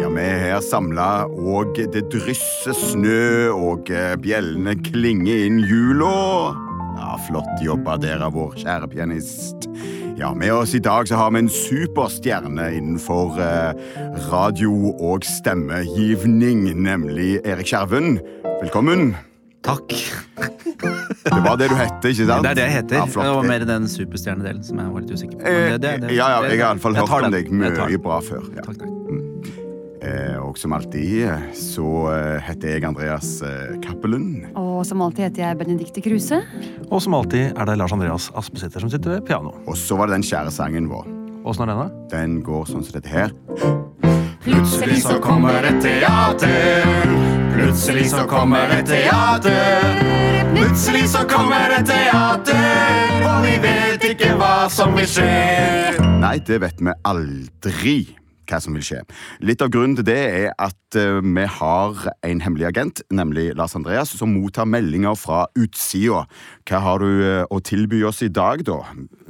Ja, vi er her samla, og det drysser snø, og eh, bjellene klinger inn jula. Ja, flott jobba, dere, vår kjære pianist. Ja, med oss i dag så har vi en superstjerne innenfor eh, radio og stemmegivning, nemlig Erik Skjerven. Velkommen. Takk. Det var det du hette, ikke sant? Det er det jeg heter. Ja, flott. det var mer den superstjernedelen som jeg var litt usikker på. Eh, Men det- det- det- ja, ja, det- jeg har iallfall jeg hørt tar om den. deg Jeg tar mye den. bra før. Ja. Takk, takk. Eh, og som alltid eh, så eh, heter jeg Andreas eh, Cappelund. Og som alltid heter jeg Benedicte Kruse. Og som alltid er det Lars Andreas Aspesæter som sitter ved piano. Og så var det den kjære sangen vår. Åssen er den, da? Den går sånn som dette her. Plutselig så kommer et teater. Plutselig så kommer et teater. Plutselig så kommer et teater. Og vi vet ikke hva som vil skje. Nei, det vet vi aldri hva som vil skje. Litt av grunnen til det er at eh, vi har en hemmelig agent, nemlig Lars Andreas, som mottar meldinger fra utsida. Hva har du eh, å tilby oss i dag, da?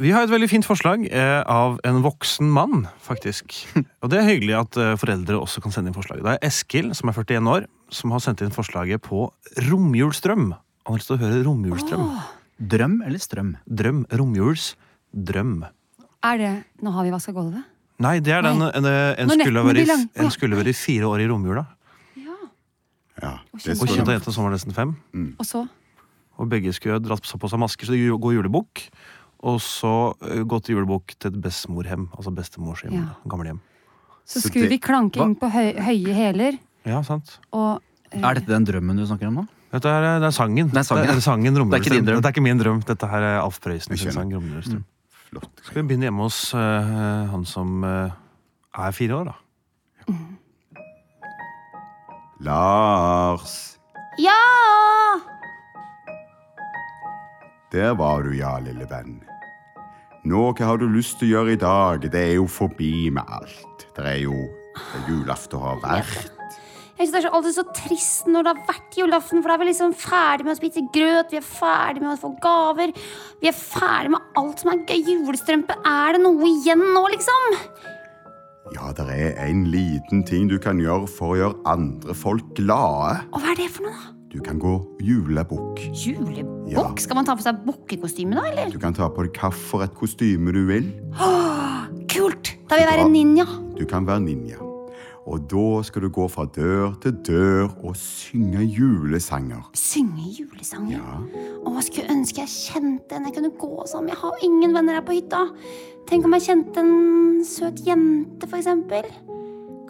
Vi har et veldig fint forslag eh, av en voksen mann, faktisk. Og det er hyggelig at eh, foreldre også kan sende inn forslaget. Det er Eskil, som er 41 år, som har sendt inn forslaget på romjulsdrøm. Han har lyst til å høre romjulsdrøm. Drøm eller strøm? Drøm. Romjulsdrøm. Er det Nå har vi vaska gulvet. Nei, det er den Nei. en, en, Når skulle netten være, blir lang. i- Å, ja. en skulle være i fire år i romjula. Ja. Ja, Og det Og står kjent av jenta som var nesten fem. Og så Og begge skulle dratt på seg masker, så de ju- går julebukk. Og så eh, gått til julebukk til et bestemorhjem, altså bestemors hjem. Ja. Gamlehjem. Så Så skulle det- vi klanke Hva? inn på høy, høye hæler Ja, sant. og Er dette den drømmen du snakker om nå? Dette er, det er sangen. Det er sangen, ja. sangen Romjulstrøm. Det er ikke din drøm. Mm. Dette er ikke min drøm. Dette her er Alf Prøysen Jeg sin sang. Romjulstrøm. flott. Skal vi begynne hjemme hos eh, han som eh, er fire år, da? Lars. Ja! Der var du, ja, lille venn. Nå, hva har du lyst til å gjøre i dag? Det er jo forbi med alt. Det er jo det er julaften har vært. Jeg synes Det er så- alltid så trist når det har vært julaften, for da er vi liksom ferdig med å spise grøt, vi er ferdig med å få gaver, vi er ferdig med alt som er gøy. Julestrømpe, er det noe igjen nå, liksom? Ja, det er en liten ting du kan gjøre for å gjøre andre folk glade. Og hva er det for noe, da? Du kan gå julebukk. Julebukk? Ja. Skal man ta på seg bukkekostyme, da, eller? Du kan ta på deg hvilket kostyme du vil. Kult! Da vil jeg bra. være ninja. Du kan være ninja. Og da skal du gå fra dør til dør og synge julesanger. Synge julesanger. Ja. Å, jeg skulle ønske jeg kjente en jeg kunne gå sammen med. Jeg har ingen venner her på hytta. Tenk om jeg kjente en søt jente, for eksempel.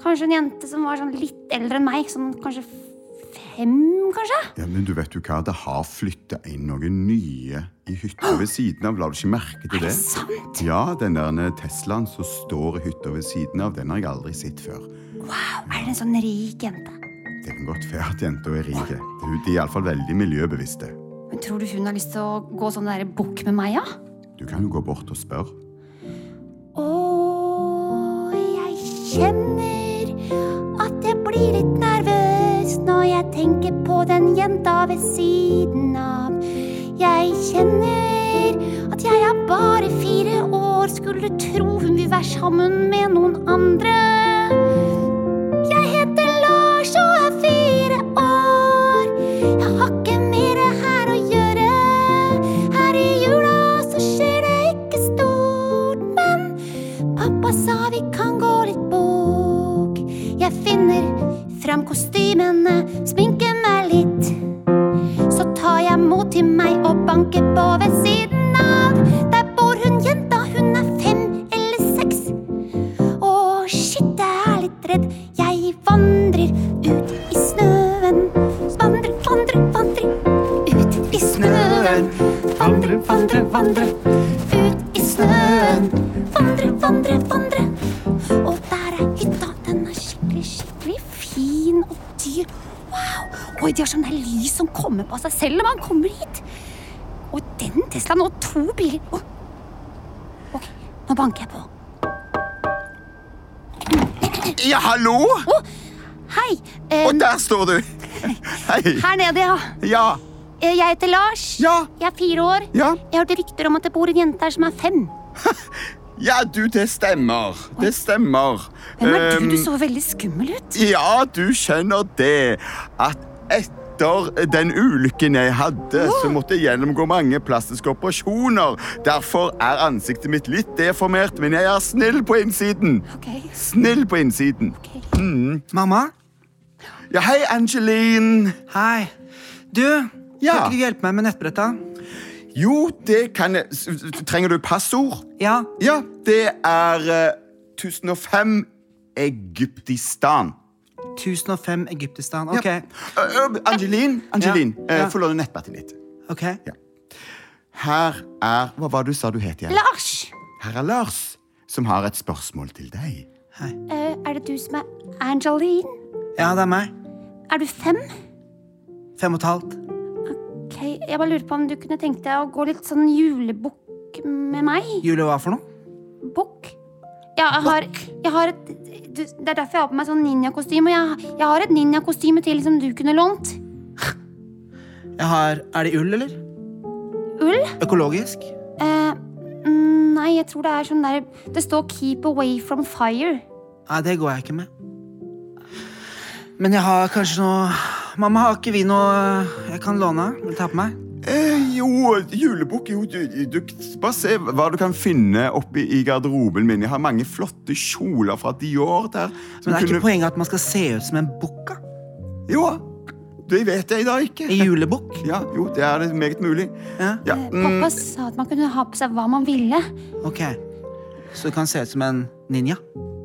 Kanskje en jente som var sånn litt eldre enn meg. Sånn kanskje f- fem, kanskje? Ja, men du vet jo hva, det har flytta inn noen nye i hytta ved siden av. La du ikke merke til Er det? det sant? Ja, den der Teslaen som står i hytta ved siden av, den har jeg aldri sett før. Wow, er det en sånn rik jente? Det kan godt være at jenta er rik. Hun- De er iallfall veldig miljøbevisste. Men tror du hun har lyst til å gå sånn der bukk med meg, ja? Du kan jo gå bort og spørre. Å, jeg kjenner at jeg blir litt nervøs når jeg tenker på den jenta ved siden av. Jeg kjenner at jeg er bare fire år, skulle tro hun vil være sammen med noen andre. Jeg heter Lars og er fire år. Jeg har ikke mere her å gjøre. Her i jula så skjer det ikke stort, men pappa sa vi kan gå litt bukk. Jeg finner fram kostymene, sminker meg litt. Så tar jeg mot til meg og banker på ved siden av. Der bor hun jenta, hun er fem eller seks. Å, shit, jeg er litt redd. Jeg vandrer ut i snøen. Vandrer, vandrer, vandrer ut i snøen. Vandrer, vandrer, vandrer ut i snøen. Vandrer, vandrer, vandrer. Og der er hytta. Den er skikkelig, skikkelig fin og dyr. Wow. Og Oi, de har sånne her lys som kommer på seg selv når man kommer hit. Og den Teslaen og to biler Å. Ok, nå banker jeg på. Ja, hallo! Hei! eh, Og der står du! Hei. her nede, ja. Ja. Eh, Jeg heter Lars. Ja. Jeg er fire år. Ja. Jeg hørte rykter om at det bor en jente her som er fem. Ja, du, det stemmer. Det stemmer. Hvem er Ehm, du? Du så veldig skummel ut. Ja, du skjønner det. At etter den ulykken jeg hadde, så måtte jeg gjennomgå mange plastiske operasjoner. Derfor er ansiktet mitt litt deformert, men jeg er snill på innsiden. Ok. Snill på innsiden. Mamma? Ja, hei, Angeline. Hei. Du, Ja. kan ikke du hjelpe meg med nettbretta? Jo, det kan jeg s- s- Trenger du passord? Ja. Ja, det er eh, 1005 Egyptistan. 1005 Egyptistan. Ok. Ø, ø, eh, Angeline, Angeline, Ja, ja. eh, få låne nettbrettet ditt. ok. Her er Hva var det du sa du het igjen? Lars! Her er Lars, som har et spørsmål til deg. Eh, er det du som er Angeline? Ja, det er meg. Er du fem? Fem og et halvt. Ok, Jeg bare lurer på om du kunne tenkt deg å gå litt sånn julebukk med meg? Julie, hva for noe? Bukk? Ja, jeg har, jeg har et du, Det er derfor jeg har på meg sånn ninjakostyme. og Jeg, jeg har et ninjakostyme til som du kunne lånt. Jeg har Er det ull, eller? Ull? Økologisk? Eh, mm, nei, jeg tror det er sånn der Det står 'Keep away from fire'. Nei, det går jeg ikke med. Men jeg har kanskje noe Mamma, har ikke vi noe eh, jeg kan låne? Vil du ta på meg? Eh, jo, julebukk jo, du, du, Bare se hva du kan finne oppi i garderoben min. Jeg har mange flotte kjoler fra Dior der. Men det er ikke poenget at man skal se ut som en bukk? da? Jo, det vet jeg da ikke. En julebukk? Ja, jo, det er det meget mulig. Ja, Ja, Eh, mm, Pappa sa at man kunne ha på seg hva man ville. ok. Så du kan se ut som en ninja?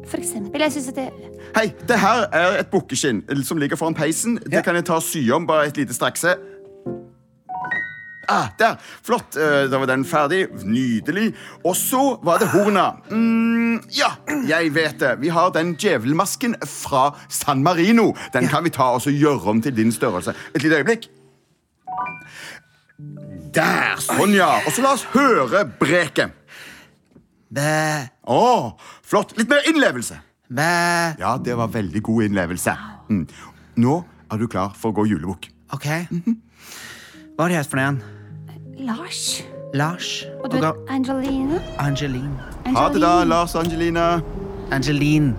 For eksempel. Jeg synes at det hei, det her er et bukkeskinn eh, som ligger foran peisen. Det Ja. kan jeg ta og sy om, bare et lite strekse. Ah, der! Flott. eh, Da var den ferdig. Nydelig. Og så var det horna. Mm, ja, jeg vet det. Vi har den djevelmasken fra San Marino. Den kan vi ta og så gjøre om til din størrelse. Et lite øyeblikk. Der! Sånn, ja. Og så la oss høre breket. Bæ, Å, flott. Litt mer innlevelse. bæ. Ja, det var veldig god innlevelse. Mm. Nå er du klar for å gå julebukk. Ok. Hva har du hett for noe igjen? Lars. Lars Og du ga- heter Angeline? Angeline. Ha det, da, Angeline. Lars og Angelina. Angeline.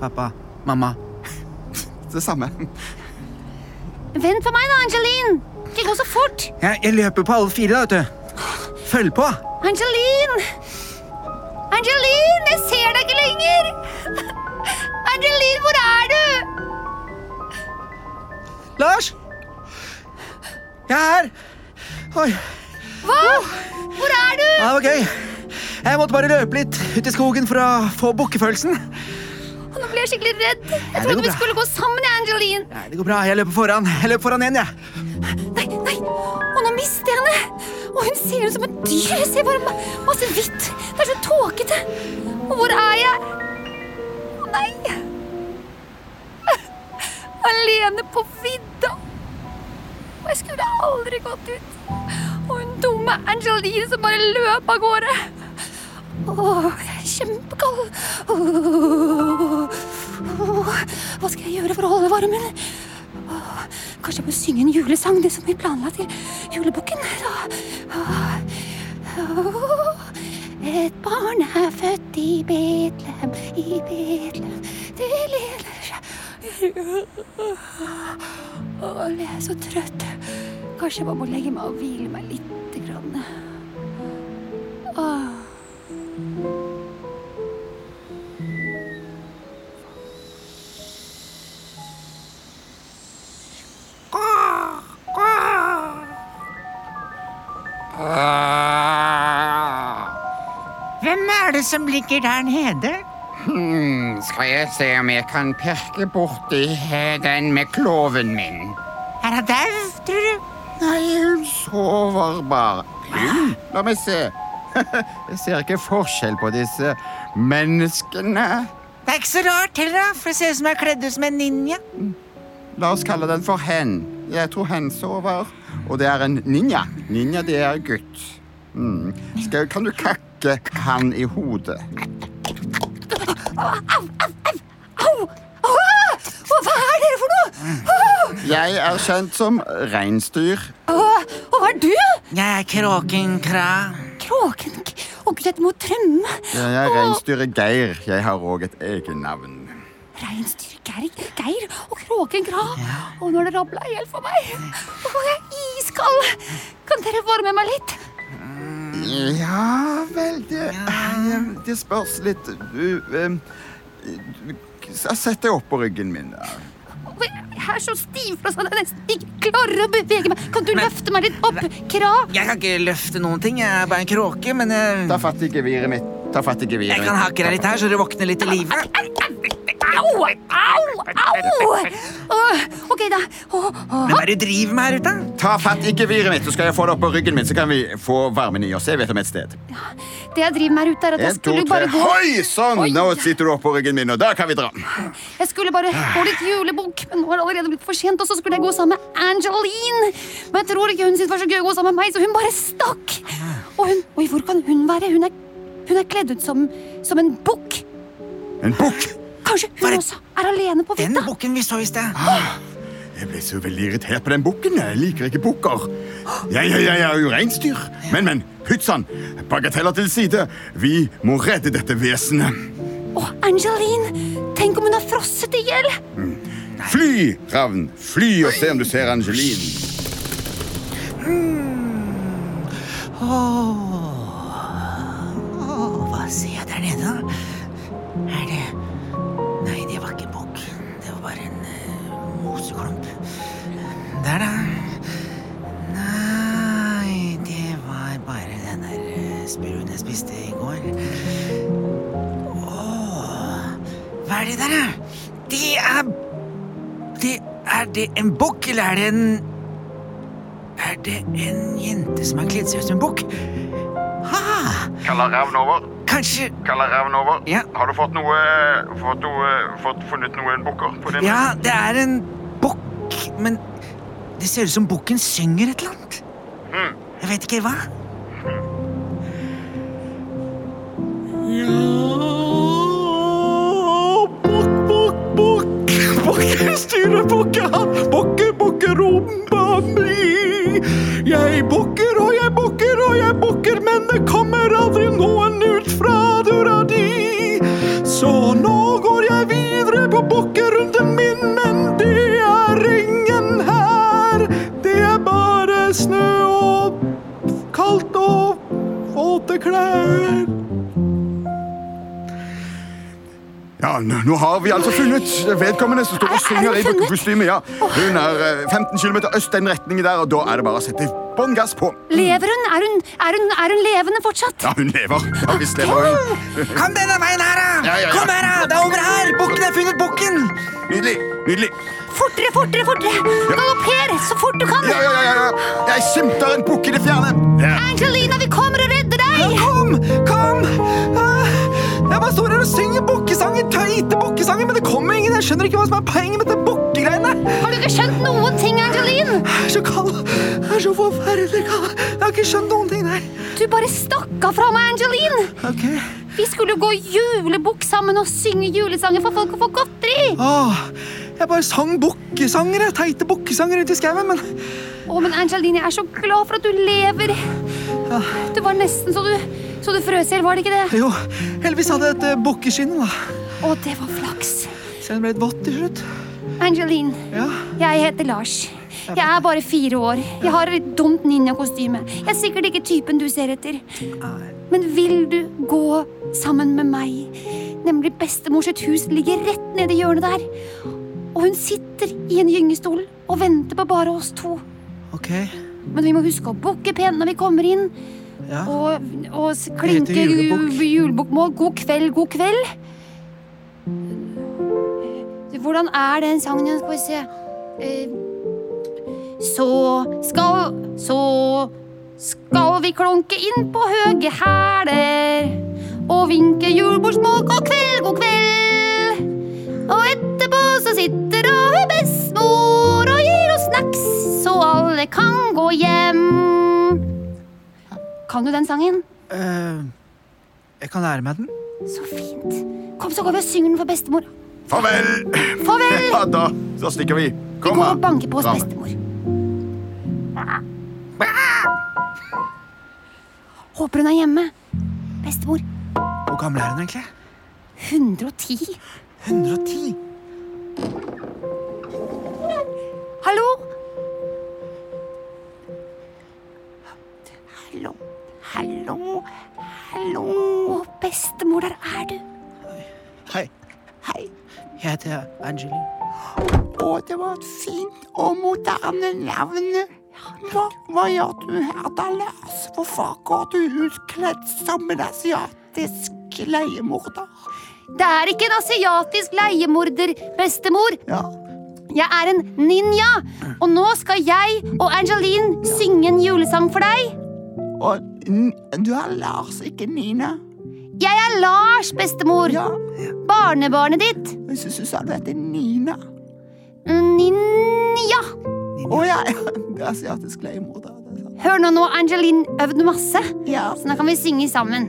Pappa. Mamma. Det samme. Vent på meg, da, Angeline! Ikke gå så fort! Jeg, jeg løper på alle fire, da, vet du. Følg på. Angeline! Angeline, jeg ser deg ikke lenger! Angeline, hvor er du? Lars! Jeg er her. Oi. Hva? Hvor er du? Ja, det var gøy. Jeg måtte bare løpe litt ut i skogen for å få bukkefølelsen. Nå ble jeg skikkelig redd. Jeg det trodde går vi bra. skulle gå sammen, jeg, Angeline. Nei, det går bra. Jeg løper foran. Jeg løper foran igjen, jeg. Nei, nei. Og nå mister jeg henne. Og hun ser ut som et dyr. Jeg ser bare ma- masse hvitt. Det er så tåkete. Og hvor er jeg? Å nei. Alene på vidda. Og jeg skulle aldri gått ut. Og hun dumme Angeline som bare løp av gårde. Åh, jeg er kjempekald. Åh, åh. Hva skal jeg gjøre for å holde varmen? Åh, Kanskje jeg bør synge en julesang, det som vi planla til julebukken. Da. Åh, åh. Et barn er født i Betlehem, i Betlehem, det lener seg Åh, jeg er så trøtt. Kanskje jeg bare må legge meg og hvile meg lite grann. Åh. Hvem er det som ligger der nede? Hmm, skal jeg se om jeg kan pirke borti eh, den med kloven min. Er han dau, tror du? Nei, hun sover bare. Hun? La meg se. Jeg ser ikke forskjell på disse menneskene. Det er ikke så rart heller, da, for det ser ut som jeg er kledd ut som en ninja. La oss kalle den for hen. Jeg tror han sover. Og det er en ninja. Ninja, det er gutt. Mm. Skal, kan du kakke han i hodet? Og hva er dere for noe? Jeg er kjent som reinsdyr. Og, og hva er du? Jeg er kråken Kra. Kråken. Å gud, dette må trømme. Jeg er reinsdyret Geir. Jeg har òg et eget navn. Reinsdyr, Geir, Geir og kråken Grav. Og når det rabla i hjel for meg. Å, jeg er iskald. Kan dere varme meg litt? Ja vel, det, eh, det spørs litt Du, em, du Sett deg opp på ryggen min. da. Å, Jeg er så stivfrossen sånn at jeg nesten ikke klarer å bevege meg. Kan du løfte meg litt opp, Kra? Jeg kan ikke løfte noen ting. Jeg er bare en kråke, men Ta jeg, fatt i geviret mitt. Ta fatt i geviret jeg kan mitt. hakke deg litt her, så du våkner litt til live. Au! Au! Au! Å, ok, da. Å, å, Men hva er det du driver med her ute? Ta fatt i geviret mitt, så skal jeg få det opp på ryggen min, så kan vi få varmen i oss. Jeg vet om et sted. Det jeg driver med her ute, er at jeg En, to, skulle tre. bare gå Hoi! Sånn! Oi. Nå sitter du opp på ryggen min, og da kan vi dra. Jeg skulle bare få litt julebukk, men nå er det allerede blitt for sent. Og så skulle jeg gå sammen med Angeline. Men jeg tror ikke hun syntes det var så gøy å gå sammen med meg, så hun bare stakk. Og hun, oi, hvor kan hun være? Hun er, hun er kledd ut som, som en bukk. En bukk! Kanskje hun også er alene på Den vidda? bukken vi så i sted. Jeg ble så veldig irritert på den bukken. Jeg liker ikke bukker. Jeg, jeg, jeg er jo reinsdyr. Men, men, putsann! Bagateller til side. Vi må redde dette vesenet. Å, Angeline! Tenk om hun har frosset i hjel! Fly, ravn. Fly og se om du ser Angeline. Åh, hva ser jeg der nede, da? Er det Nei, det var ikke bukk. Det var bare en eh, moseklump. Der, da. Nei, det var bare den der eh, spurven jeg spiste i går. Åh, hva er det der, da? Det er Det Er det en bukk, eller er det en Er det en jente som har kledd seg ut som en bukk? Ah! Kaller ravn over. Kanskje Kaller ravn over. Ja. Har du fått noe, fått noe fått funnet noen bukker på din Ja, det er en bukk, men det ser ut som bukken synger et eller annet. Hmm. Jeg vet ikke hva. Ja, bukk, bukk, bukk. Bukke styrer bukka, bukke, bukke rumpa mi. Jeg bukker og jeg bukker og jeg bukker, men det kommer aldri noen ut fra døra di. Så nå går jeg videre på bukkerunden min, men det er ingen her. Det er bare snø og kaldt og våte klær. Ja, nå, nå har vi altså funnet vedkommende som står og synger i bukkekostyme. Ja. Hun er eh, 15 km øst den retningen der, og da er det bare å sette bånn gass på. Lever hun? Er hun, er hun, er hun levende fortsatt? Ja, hun lever. Ja, visst lever hun. Kom denne veien her, da! Ja, ja, ja. Kom her, da! Det er over her! Bukken har funnet bukken! Nydelig. Nydelig. Fortere, fortere, fortere! Galopper så fort du kan! Ja, ja, ja, ja, ja. Jeg skimter en bukk i det fjerne. Ja. Angelina, vi kommer og redder Ja, deg! kom! Kom! Ah, Jeg bare står her og synger bukkesanger, teite bukkesanger, men det kommer ingen. Jeg skjønner ikke hva som er poenget med dette bukkegreiene. Har du ikke skjønt noen ting, Angeline? Jeg er så kald. Jeg er så forferdelig kald. Jeg har ikke skjønt noen ting der. Du bare stakk av fra meg, Angeline! Ok. Vi skulle jo gå i julebukk sammen og synge julesanger for folk og få godteri! Åh, jeg bare sang bukkesanger, jeg. teite bukkesanger ute i skauen, men Å, men Angeline, jeg er så glad for at du lever! Det var nesten så du, så du frøs i hjel, var det ikke det? jo, heldigvis hadde jeg et eh, bukkeskinn, da. Å, det var flaks. Så jeg ble litt vått til slutt. Angeline, Ja. jeg heter Lars. Jeg er bare fire år. Jeg har et litt dumt ninjakostyme. Jeg er sikkert ikke typen du ser etter. Men vil du gå sammen med meg? Nemlig bestemor sitt hus ligger rett nede i hjørnet der. Og hun sitter i en gyngestol og venter på bare oss to. Ok. Men vi må huske å bukke pent når vi kommer inn. Ja. Og, og s- klinke heter julebukk. ju- julebukmål. God kveld, god kveld. Hvordan er den sangen igjen? Skal vi se. Eh, Så skal Så skal vi klonke inn på høge hæler og vinke julebordsmål. God kveld, god kveld. Og etterpå så sitter da hun bestemor og gir oss snacks. alle kan gå hjem. Kan du den sangen? Eh, jeg kan lære meg den. Så fint. Kom, så går vi og synger den for bestemor. Farvel! Farvel! Ja da, så stikker vi. Vi Kom går og her. banker på hos Dame. bestemor. Håper hun er hjemme. Bestemor, Hvor gammel er hun egentlig? 110? 110? Hallo? Hallo, hallo, hallo. Å, bestemor, der er du. Hei. Hei. Jeg heter Angeline. Å, det var et fint og moderne navn. Hva, hva gjør du her, Dallas? Hvorfor går du utkledd som en asiatisk leiemorder? Det er ikke en asiatisk leiemorder, bestemor. Ja. Jeg er en ninja, og nå skal jeg og Angeline synge en julesang for deg. Og n- du er Lars, ikke Nina. Jeg er Lars, bestemor. Ja, Barnebarnet ditt. jeg synes du sa du heter Nina. Ninja. Å ja, ja, det er asiatisk leiemorder. det er sant. Hør nå, nå har Angeline øvd masse, Ja. så nå kan vi synge sammen.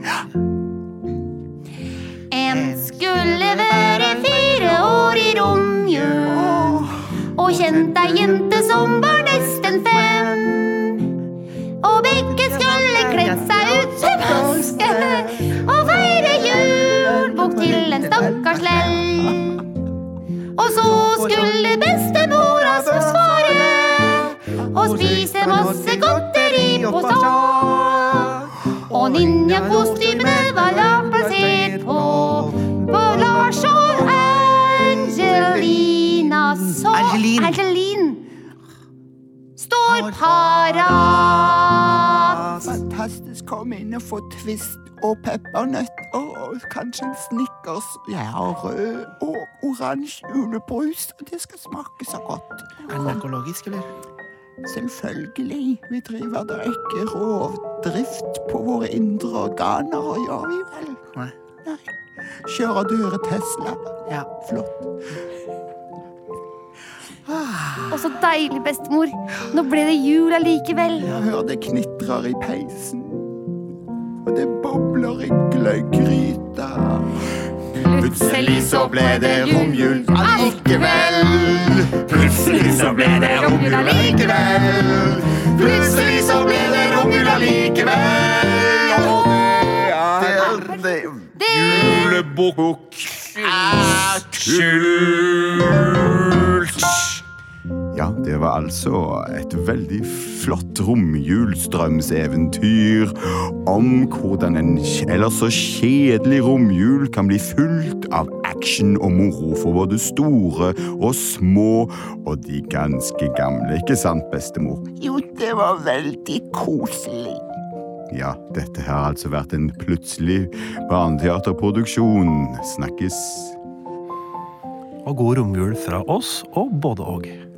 En skulle være fire år i romjul. Og kjent ei jente som var nesten fem. Og begge skulle kledd seg ut som aske og feire jul bort til en stakkars lell. Og så skulle bestemora forsvare og spise masse godteri på tå. Og ninjakostymene var da plassert på på Lars og Angelina. Så Angeline. Angeline står parat. Fantastisk. Kom inn og få twist og peppernøtt og, og kanskje en snickers. Jeg har rød og oransje julebrus, og det skal smake så godt. Er den økologisk, eller? Selvfølgelig. Vi driver da ikke rovdrift på våre indre organer, gjør vi vel? Nei. Nei. Kjører dere Tesla? Ja. Flott. Og så deilig, bestemor. Nå ble det jul allikevel. Jeg hører det knitrer i peisen. Og det bobler i gløggryta. Plutselig så ble det romjul allikevel. Plutselig så ble det romjul allikevel. Plutselig så ble det romjul allikevel. Og det er det, det Det Julebukk er kult. Ja, det var altså et veldig flott romjulstrømseventyr om hvordan en kj- ellers så kjedelig romjul kan bli fulgt av action og moro for både store og små og de ganske gamle, ikke sant, bestemor? Jo, det var veldig koselig. Ja, dette har altså vært en plutselig barneteaterproduksjon. Snakkes. Og god romjul fra oss og både og.